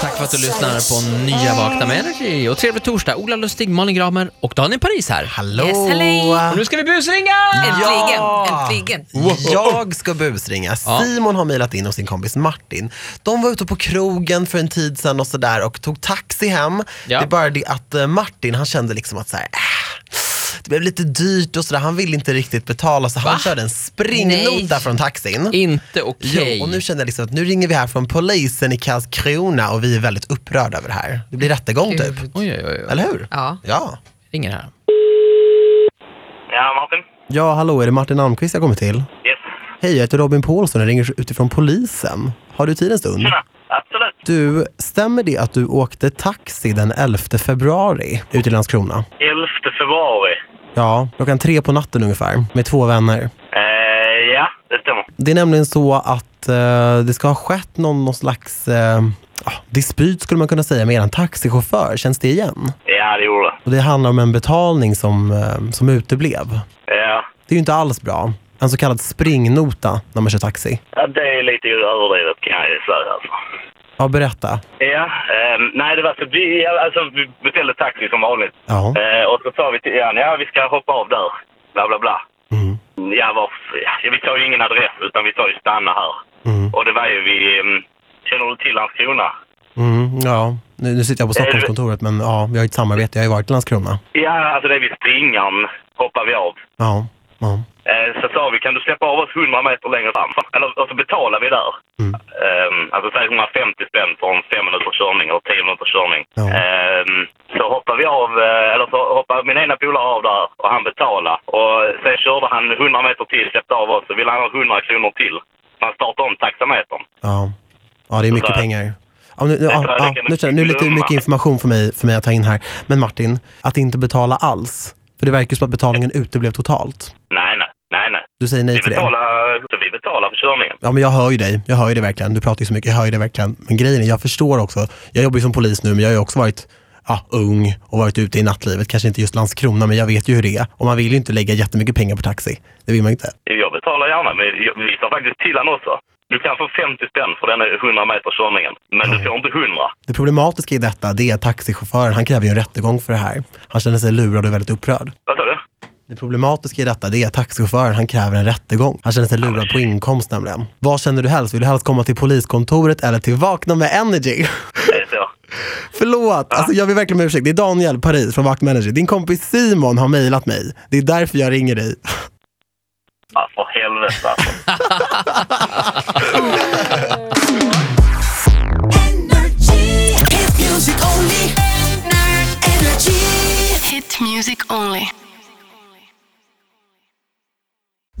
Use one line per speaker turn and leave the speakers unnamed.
Tack för att du lyssnar på Nya Vakna med Energy. Och trevlig torsdag. Ola Lustig, Malin Gramer och Daniel Paris här. Hallå!
Yes, hallå.
Och nu ska vi busringa!
Äntligen, äntligen.
Jag ska busringa. Simon har mejlat in hos sin kompis Martin. De var ute på krogen för en tid sedan och sådär och tog taxi hem.
Ja.
Det är bara det att eh, Martin han kände liksom att såhär, äh, det blev lite dyrt och sådär. Han ville inte riktigt betala så han körde en springnota
Nej.
från taxin.
Inte
Jo,
okej.
och nu känner jag liksom att nu ringer vi här från polisen i Karlskrona och vi är väldigt upprörda över det här. Det blir rättegång typ.
Gud.
Oj, oj, oj.
Eller hur?
Ja.
ja.
Ringer här.
Ja, Martin.
Ja, hallå, är det Martin Almqvist jag kommer till?
Yes.
Hej, jag heter Robin Paulsson och ringer utifrån polisen. Har du tid en stund?
Tjena. Absolut.
Du, stämmer det att du åkte taxi den 11 februari ut i Landskrona?
11 februari.
Ja, klockan tre på natten ungefär, med två vänner.
Eh, ja, det stämmer.
Det är nämligen så att eh, det ska ha skett någon, någon slags eh, ja, dispyt skulle man kunna säga med er taxichaufför. Känns det igen?
Ja, det gjorde det.
Och det handlar om en betalning som, eh, som uteblev.
Ja.
Det är ju inte alls bra. En så kallad springnota när man kör taxi.
ja, det är lite överdrivet kan jag ju säga alltså.
Ja, berätta.
Ja, ehm, nej det var så vi, ja, alltså, vi beställde taxi som vanligt.
Ja.
Eh, och så sa vi till Jan, ja vi ska hoppa av där. Bla bla bla.
Mm.
Ja, varför? ja, vi tar ju ingen adress utan vi tar ju stanna här.
Mm.
Och det var ju vi, ehm, känner du till Landskrona?
Mm, ja. Nu, nu sitter jag på
Eh,
Stockholmskontoret, men ja, vi har ju ett samarbete. Jag har ju varit i Landskrona.
Ja, alltså det är vid springan hoppar vi av.
Ja. ja.
Eh, Så sa vi, kan du släppa av oss 100 meter längre fram? Eller, och så betalar vi där.
Mm.
Ehm, alltså säg 150 spänn för en 5 minuters körning eller 10 minuters körning.
Ja.
Ehm, så hoppar vi av, eh, eller så hoppar min ena polare av där och han betalar. Och sen körde han 100 meter till, släppte av oss och ville han ha 100 kronor till. Han startade om taxametern.
Ja, ja det är mycket
Sådär.
pengar. Ja, nu, nu, ja,
tror jag
ja,
det kan
nu, känner jag- nu är det lite
glömma.
mycket information för mig, för mig att ta in här. Men Martin, att inte betala alls. För det verkar ju som att betalningen uteblev totalt.
Nej, nej, nej, nej.
Du säger nej
Vi
till det.
betalar, så vi betalar för körningen.
Ja, men jag hör ju dig. Jag hör ju det verkligen. Du pratar ju så mycket. Jag hör ju det verkligen. Men grejen är, jag förstår också. Jag jobbar ju som polis nu, men jag har ju också varit ja, ung och varit ute i nattlivet. Kanske inte just Landskrona, men jag vet ju hur det är. Och man vill ju inte lägga jättemycket pengar på taxi. Det vill man inte.
Jag betalar gärna, men jag- vi sa faktiskt till han också. Du kan få 50 spänn för den här 100 meter körningen, men du får inte 100.
Det problematiska i detta, det är att taxichauffören, han kräver ju en rättegång för det här. Han känner sig lurad och väldigt upprörd.
Vad sa du?
Det problematiska i detta det är att taxichauffören han kräver en rättegång. Han känner sig lurad på inkomst nämligen. Vad känner du helst? Vill du helst komma till poliskontoret eller till Vakna med Energy?
Är det så?
Förlåt, alltså, jag vill verkligen om ursäkt. Det är Daniel Paris från Vakna med Energy. Din kompis Simon har mejlat mig. Det är därför jag ringer dig.
Ja, för helvete alltså.
Hit music only. Energy.
Hit music only.